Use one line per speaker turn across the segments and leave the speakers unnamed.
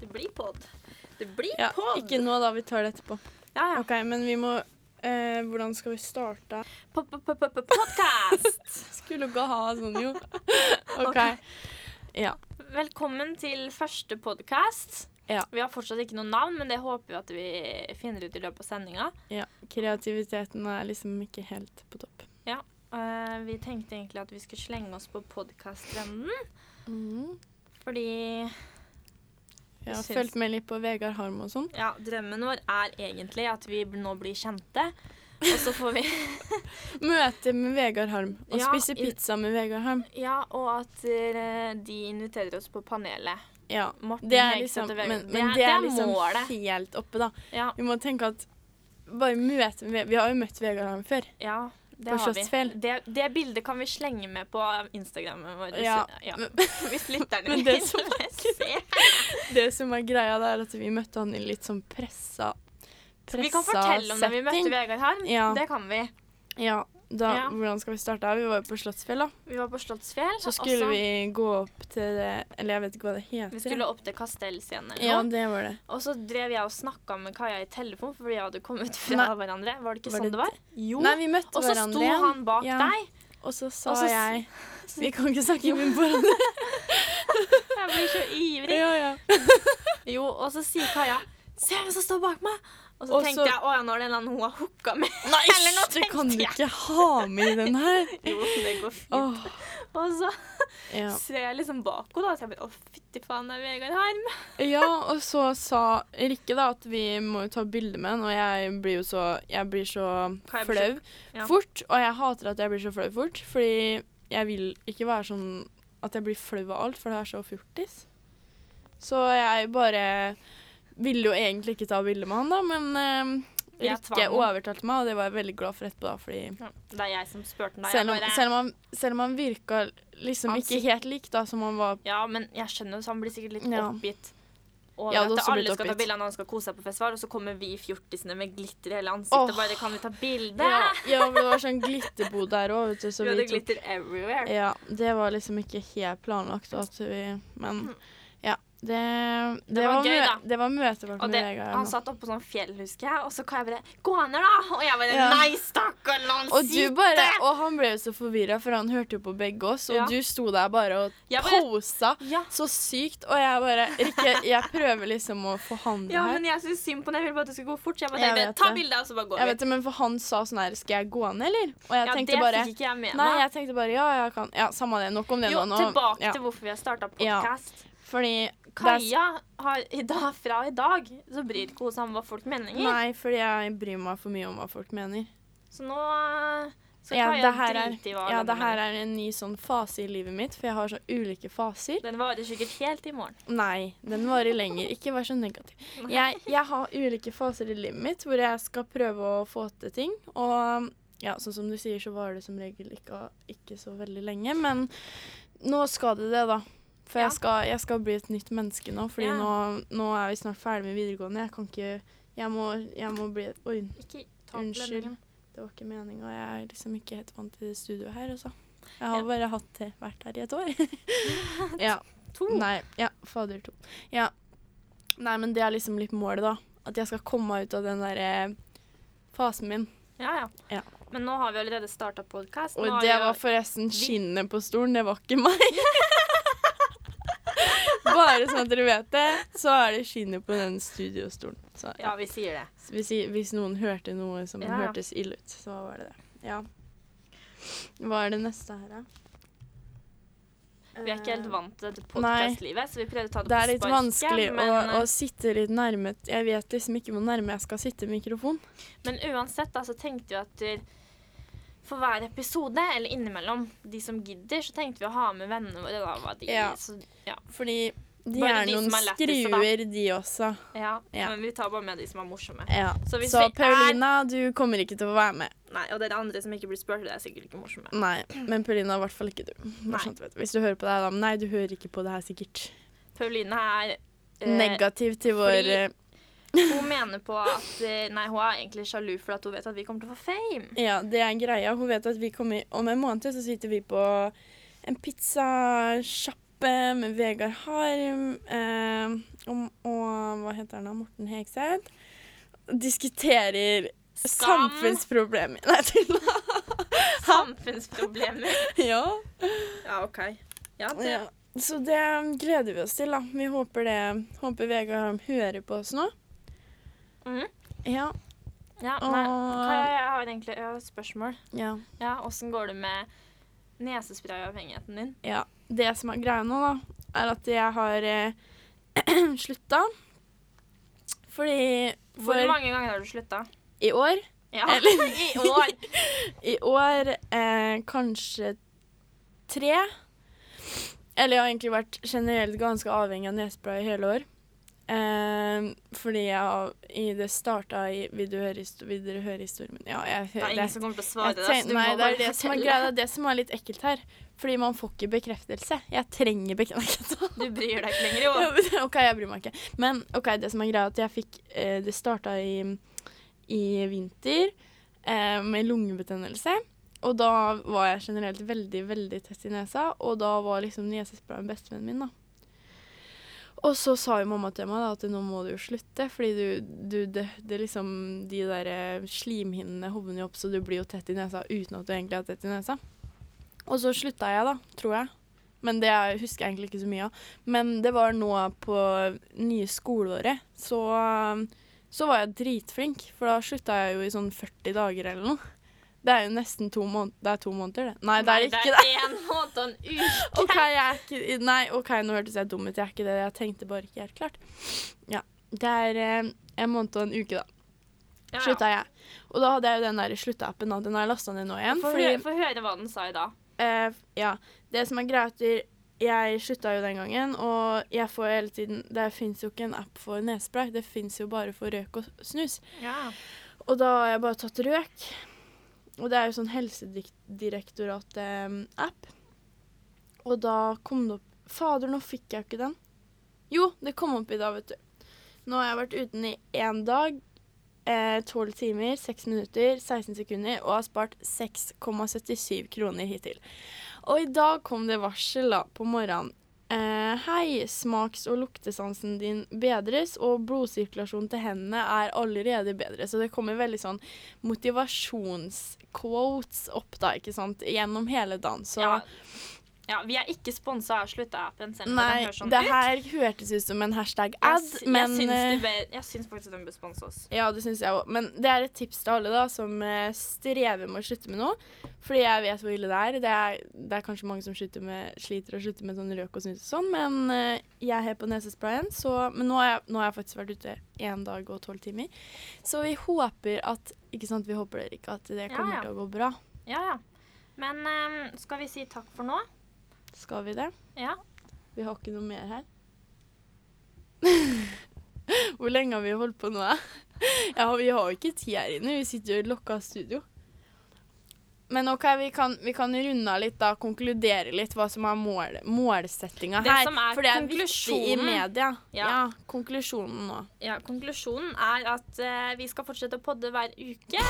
Det blir pod. Det blir
Ja,
pod!
ikke nå, da. Vi tar det etterpå.
Ja, ja.
OK, men vi må eh, Hvordan skal vi starte?
Podkast!
Skulle ikke ha sånn, jo. OK.
Ok.
Ja.
Velkommen til første podkast.
Ja.
Vi har fortsatt ikke noe navn, men det håper vi at vi finner ut i løpet av sendinga.
ja. Kreativiteten er liksom ikke helt på topp.
Eh, vi tenkte egentlig at vi skulle slenge oss på podkasttrenden, Mm. fordi
Jeg har
Jeg syns-
fulgt med litt på Vegard Harm og sånn.
ja, drømmen vår er egentlig at vi nå blir kjente. Og så får vi
Møte med Vegard Harm. Og
Ja,
spise
i-
pizza med Vegard Harm.
Ja, og at eh, de inviterer oss på panelet.
Ja.
Morten
Det er
Hegseth
liksom,
og
men,
Vegard- det, er-
men det er liksom
målet.
helt oppe, da.
Ja,
Vi må tenke at bare møte Ve- Vi har jo møtt Vegard Harm før.
ja, det
På
har vi.
Slottsfjell.
Det, det bildet kan vi slenge med på Instagrammen vår.
Ja, men-
Hvis lytterne
men
vil
det som
se.
Det som er greia, det er at vi møtte han i litt sånn pressa
Vi kan fortelle om da vi møtte
setting.
Vegard Harm.
Ja.
Det kan vi.
Ja, da,
Ja.
Hvordan skal vi starte? her? Vi var jo på Slottsfjell, da.
Vi var på Slottsfjell.
Så skulle
og
vi gå opp til det Eller jeg vet ikke hva det heter.
Vi skulle opp til Kastellscenen.
ja, det var det.
Og så drev jeg og snakka med Kaja i telefon fordi jeg hadde kommet fra
Nei.
hverandre. Var det ikke
Var
sånn
det
det var? Jo.
Nei, vi møtte
og så
hverandre.
sto
igjen.
han bak
Ja.
deg.
Og så sa
Og så s-
jeg Vi kan ikke snakke i munnen på hverandre.
Jeg blir så ivrig.
ja, ja.
Jo, og så sier Kaja Se hvem som står bak meg! Og så
Og
tenkte
så-
jeg å ja, nå er det en eller annen hun har hooka med.
Nei,
Eller nå
hysj, det kan
tenkte
du
jeg.
ikke ha med i den her.
Jo, det går fint.
Åh,
Og så
ja.
ser jeg liksom bak henne, da, så jeg bare å fytti faen, det er Vegard Harm.
ja, og så sa Rikke da at vi må jo ta bilde med han, og jeg blir jo så, jeg blir så
Kan jeg bli så-
flau
Ja.
fort. Og jeg hater at jeg blir så flau fort, fordi jeg vil ikke være sånn at jeg blir flau av alt, for det er så fjortis. Så jeg bare ville jo egentlig ikke ta bilde med han, da, men eh,
Jeg tvang
Rikke
han.
overtalte meg, og det var jeg veldig glad for etterpå, da, fordi
Ja, Det er jeg som spurte deg.
Selv om,
jeg bare-
selv, om han, selv om han virka liksom
Han
ikke helt lik da, som han var
Ja, men jeg skjønner, så han blir sikkert litt
Ja.
oppgitt. Og
Jeg hadde
at
også
alle
blitt
skal ta
oppgitt.
bilde av når han skal kose seg på festival, og så kommer vi fjortisene med glitter i hele ansiktet
Åh.
og bare Kan vi ta bilde?
ja, ja, for det var sånn glitterbod der òg, vet du. Så
vi
vi
hadde
tok,
glitter everywhere.
ja, det var liksom ikke helt planlagt. At vi, men ja. Det, det,
Mm. var gøy,
mø-
da.
Det var møte vårt
Og
med
det,
Vegard.
han
nå.
satt oppå sånn fjell, husker jeg, og så kan jeg bare 'Gå ned, da!' Og jeg bare
Ja.
'Nei, stakkar, la han
Og du
sitte!'
bare, og han ble jo så forvirra, for han hørte jo på begge oss. Og
Ja.
du sto der bare og
Jeg bare-
posa
Ja.
så sykt. Og jeg bare Rikke, jeg prøver liksom å forhandle
ja,
her.
men jeg syns synd på den. Jeg ville bare at det skulle gå fort, så jeg bare
Jeg
tenkte
vet
'Ta
det.
bilde', og så bare går
Jeg
vi.
vet det, men for han sa sånn her Skal jeg gå ned, eller? Og jeg
Ja,
tenkte
det
bare
fikk ikke jeg med
Nei,
meg.
jeg tenkte bare ja, jeg kan Ja, samme det. Nok om det
Jo,
nå. nå.
tilbake
ja.
til hvorfor vi har starta
Ja.
podkast.
Fordi det
Kaja har i dag, fra i dag, så bryr ikke hun seg om hva folk mener.
er- Nei, fordi jeg bryr meg for mye om hva folk mener.
Så nå eh, skal
Ja,
Kaja
det her er,
drite i hva
ja,
alle
det her
mener.
er en ny sånn fase i livet mitt, for jeg har så ulike faser.
Den varer sikkert helt i morgen.
Nei, den varer lenger. Ikke vær så negativ. Jeg, jeg har ulike faser i livet mitt hvor jeg skal prøve å få til ting. Og ja, sånn som du sier, så varer det som regel ikke, ikke så veldig lenge. Men nå skal det det, da. For
Ja.
jeg, skal, jeg skal bli et nytt menneske nå. Fordi
Ja.
nå, nå er vi snart ferdig med videregående. Jeg kan ikke Jeg må, jeg må bli Oi,
Ikke ta opp
unnskyld.
lønningen.
Det var ikke meninga. Jeg er liksom ikke helt vant til det studioet her, altså. Jeg har
Ja.
bare hatt det, vært her i et år. ja.
To.
Nei, ja, fader to. Ja. Nei, men det er liksom litt målet, da. At jeg skal komme meg ut av den derre fasen min.
Ja, ja.
Ja.
Men nå har vi allerede starta podkast.
Og det var forresten skinnet på stolen, det var ikke meg. Bare sånn at dere vet det, så er det skinnet på den studiostolen. Så,
Ja,
ja.
vi sier det.
Så Hvis, hvis noen hørte noe som
Ja, ja.
hørtes ille ut, så var det det. Ja. Hva er det neste her, da? Eh,
Vi er ikke helt vant til dette
Nei.
podkastlivet, så vi prøvde å ta det,
Det
på
er litt
sparket,
vanskelig
men, eh,
å, å sitte litt nærme Jeg vet liksom ikke hvor nærme jeg skal sitte mikrofon.
Men uansett da, så tenkte vi at eh, for hver episode, eller innimellom, de som gidder, så tenkte vi å ha med vennene våre. da, hva de,
Ja.
Så, ja.
Fordi de
Bare
er
de
noen
som er lettest, da.
skruer, de også.
Ja,
Ja.
men vi tar bare med de som er morsomme.
Ja.
Så
Så,
hvis vi er-
Paulina, du kommer ikke til å være med.
Nei, Og dere andre som ikke blir spurt, dere er sikkert ikke morsomme.
Nei, men Paulina er i hvert fall ikke du. Bare
Nei.
sånn at du vet. Hvis du hører på det her, da. men Nei, du hører ikke på det her sikkert.
Pauline er eh,
Negativ til vår
fordi-
eh,
Hun mener på at eh, Nei, hun er egentlig sjalu fordi at hun vet at vi kommer til å få fame.
Ja, det er greia. Hun vet at vi kommer Om en måned så sitter vi på en pizzasjappe eh, med Vegard Harm eh, om, og hva heter han da? Morten Hegseth. Diskuterer
Skam.
samfunnsproblemer. Nei, tulla.
Samfunnsproblemer.
Ja.
Ja, OK. Ja, det,
ja. Så det gleder vi oss til, da. Vi håper, det, håper Vegard Harm hører på oss nå.
Mhm.
Ja.
ja
Og,
nei. Hva, jeg har egentlig jeg har et spørsmål.
ja.
Ja, Åssen går det med nesesprayavhengigheten din?
Ja, det som er greia nå, da, er at jeg har eh, slutta. Fordi
Hvor
for
mange ganger har du slutta?
i år
Ja,
Eller-
i år.
I år eh, kanskje tre. Eller jeg har egentlig vært generelt ganske avhengig av nesespray i hele år. Eh, fordi jeg har- i det starta i Vil du høre, histo- vil dere høre historien min? Ja, jeg
Det
hører
er ingen som kommer til å svare
Jeg
deg.
tenk-
så du
Nei,
må
det er
bare
det som er
fortelle.
greia. Det er det som er litt ekkelt her. Fordi man får ikke bekreftelse. Jeg trenger bekreftelse.
Du bryr deg ikke lenger, jo.
Ja, OK, jeg bryr meg ikke. Men ok, det som er greia, er at jeg fikk eh, Det starta i, i vinter eh, med lungebetennelse. Og da var jeg generelt veldig, veldig tett i nesa, og da var liksom nesesprayen bestevennen min, da. Og så sa jo mamma til meg da, at nå må du jo slutte, fordi du, du det, det er liksom De der eh, slimhinnene hovner jo opp, så du blir jo tett i nesa uten at du egentlig er tett i nesa. Og så slutta jeg, da, tror jeg. Men det er- husker jeg egentlig ikke så mye av. Men det var nå på nye skoleåret, så, så var jeg dritflink. For da slutta jeg jo i sånn 40 dager eller noe. Det er jo nesten to måneder. Det er to måneder, det. Nei, det er ikke det.
Det er en måned og en uke.
OK, jeg er ikke, nei, ok, nå hørtes jeg dum ut. Jeg er ikke det. Jeg tenkte bare ikke helt klart. Ja. Det er eh, en måned og en uke, da.
Ja, ja.
Slutta jeg. Og da hadde jeg jo den der slutta-appen, da. Den har jeg lasta ned nå igjen.
Få
fordi-
høre, få høre hva den sa i dag.
Eh, ja. Det som er greit, er jeg slutta jo den gangen, og jeg får hele tiden Det fins jo ikke en app for nesespray, det fins jo bare for røyk og snus. Og da har jeg bare tatt røyk. Og det er jo sånn eh, Helsedirektoratet-app. Og da kom det opp Fader, nå fikk jeg jo ikke den. Jo, det kom opp i dag, vet du. Nå har jeg vært uten i én dag, eh, tolv timer, seks minutter, 16 sekunder og har spart 6,77 kroner hittil. Og i dag kom det varsel da, på morgenen. Eh, hei, smaks- og luktesansen din bedres, og blodsirkulasjonen til hendene er allerede bedre. Så det kommer veldig sånn motivasjonsquotes opp da, ikke sant, gjennom hele dagen. Så
Ja. ja, vi er ikke sponsa av Slutta-appen. selv om den
nei,
høres sånn
det
ut.
her hørtes ut som en hashtag-ad,
Jeg, s-
men
jeg, syns
eh,
de bør- jeg syns faktisk at den bør sponse oss.
Ja, det syns jeg òg. Men det er et tips til alle da, som eh, strever med å slutte med noe. Fordi jeg vet hvor ille det er. Det er, det er kanskje mange som slutter med, sliter å slutte med sånn røk og snus og sånn, men eh, jeg er helt på nesesprayen. Så, men nå har, jeg, nå har jeg faktisk vært ute én dag og tolv timer. Så vi håper at Ikke sant, vi håper dere ikke at det
Ja,
kommer
ja.
til å gå bra.
Ja, ja. Men ehm, skal vi si takk for nå?
Skal vi det?
Ja.
Vi har ikke noe mer her. Hvor lenge har vi holdt på nå? da? Ja, vi har jo ikke tid her inne. Vi sitter jo i lokka studio. Men OK, vi kan, vi kan runde av litt, da. Konkludere litt hva som er mål, målsettinga
Det
her.
som er
For det er viktig i
konklusjonen-
media.
Ja.
Ja. konklusjonen nå.
ja. Konklusjonen er at eh, vi skal fortsette å podde hver uke.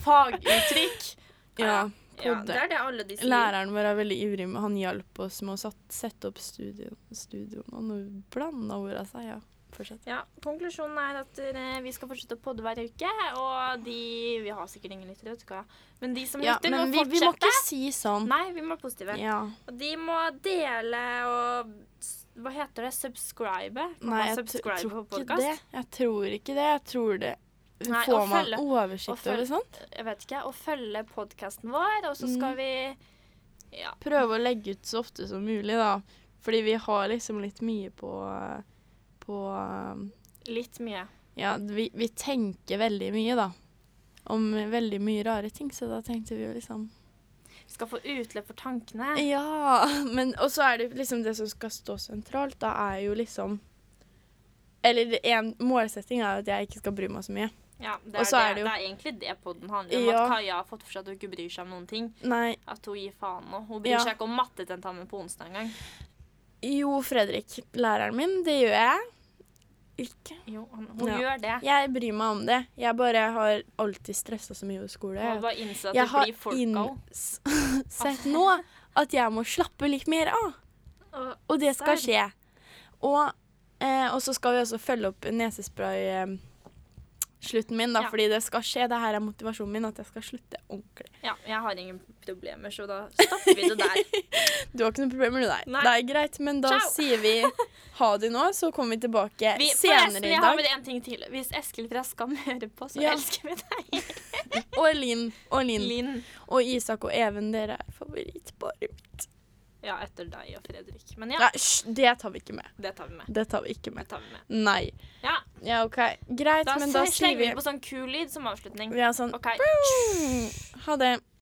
Faguttrykk.
Ja.
Ja,
podde.
det er det alle de sier.
Læreren vår er veldig ivrig. med- Han hjalp oss med å satt, sette opp studio, studioen. Og nå blanda orda seg. Ja, fortsett.
Ja, Konklusjonen er at eh, vi skal fortsette å podde hver uke. Og de Vi har sikkert ingen lyttere, vet du hva. Men de som
Ja,
lytter,
men
må
vi, vi må
fortsette.
ikke si sånn.
Nei, vi må være positive.
Ja.
Og de må dele og s- Hva heter det? Subscribe? Kan
Nei,
man
jeg tr-
subscribe
tror
på
ikke
podcast?
det. Jeg tror ikke det. Jeg tror det.
Nei,
Får
og
man
følge- og
oversikt
følge-
over sånt?
Jeg vet ikke. Og følge podkasten vår, og så skal
Mm.
vi Ja.
Prøve å legge ut så ofte som mulig, da. Fordi vi har liksom litt mye på på
Litt mye.
Ja, vi, vi tenker veldig mye, da. Om veldig mye rare ting, så da tenkte vi jo liksom
Vi skal få utløp for tankene.
Ja, men Og så er det liksom det som skal stå sentralt, da er jo liksom Eller det- en målsetting er jo at jeg ikke skal bry meg så mye.
Ja, det
Og
er,
så er
det, det,
det jo-
er egentlig det podden handler om.
Ja.
At Kaja har fått for seg at hun ikke bryr seg om noen ting.
Nei,
At hun gir faen nå. Hun bryr
Ja.
seg ikke om mattetentamen på onsdag engang.
Jo, Fredrik, læreren min, det gjør jeg. Ikke.
Jo, han- hun
Ja.
gjør det.
Jeg bryr meg om det. Jeg bare har alltid stressa så mye over skole.
Hun bare innser at
jeg
det
har
blir folk av henne.
innsett nå at jeg må slappe litt mer av.
Og,
Og det skal
Serr.
skje. Og, eh, og så skal vi også følge opp nesespray-slutten min, da,
Ja.
fordi det skal skje. Det her er motivasjonen min, at jeg skal slutte ordentlig.
ja, jeg har ingen problemer, så da stopper vi det der.
Du har ikke noe problem med det der.
Nei.
Det er greit, men da
Ciao.
sier vi ha det nå, så kommer vi tilbake
Vi, forresten,
senere i
jeg har
dag.
med en ting til. Hvis Eskil fra Skam hører på, så
Ja.
elsker vi deg.
Og Linn. Og Linn.
Linn.
Og Isak og Even, dere er favorittparet mitt.
Ja, etter deg og Fredrik. Men ja,
Nei, hysj, det tar vi ikke med.
det tar vi med.
Det tar vi ikke
Det
med.
tar vi med.
Nei.
Ja,
Ja, OK. Greit,
da,
men da sier
slenger
vi
vi på sånn kul lyd som avslutning.
Vi har sånn
OK.
Ha det.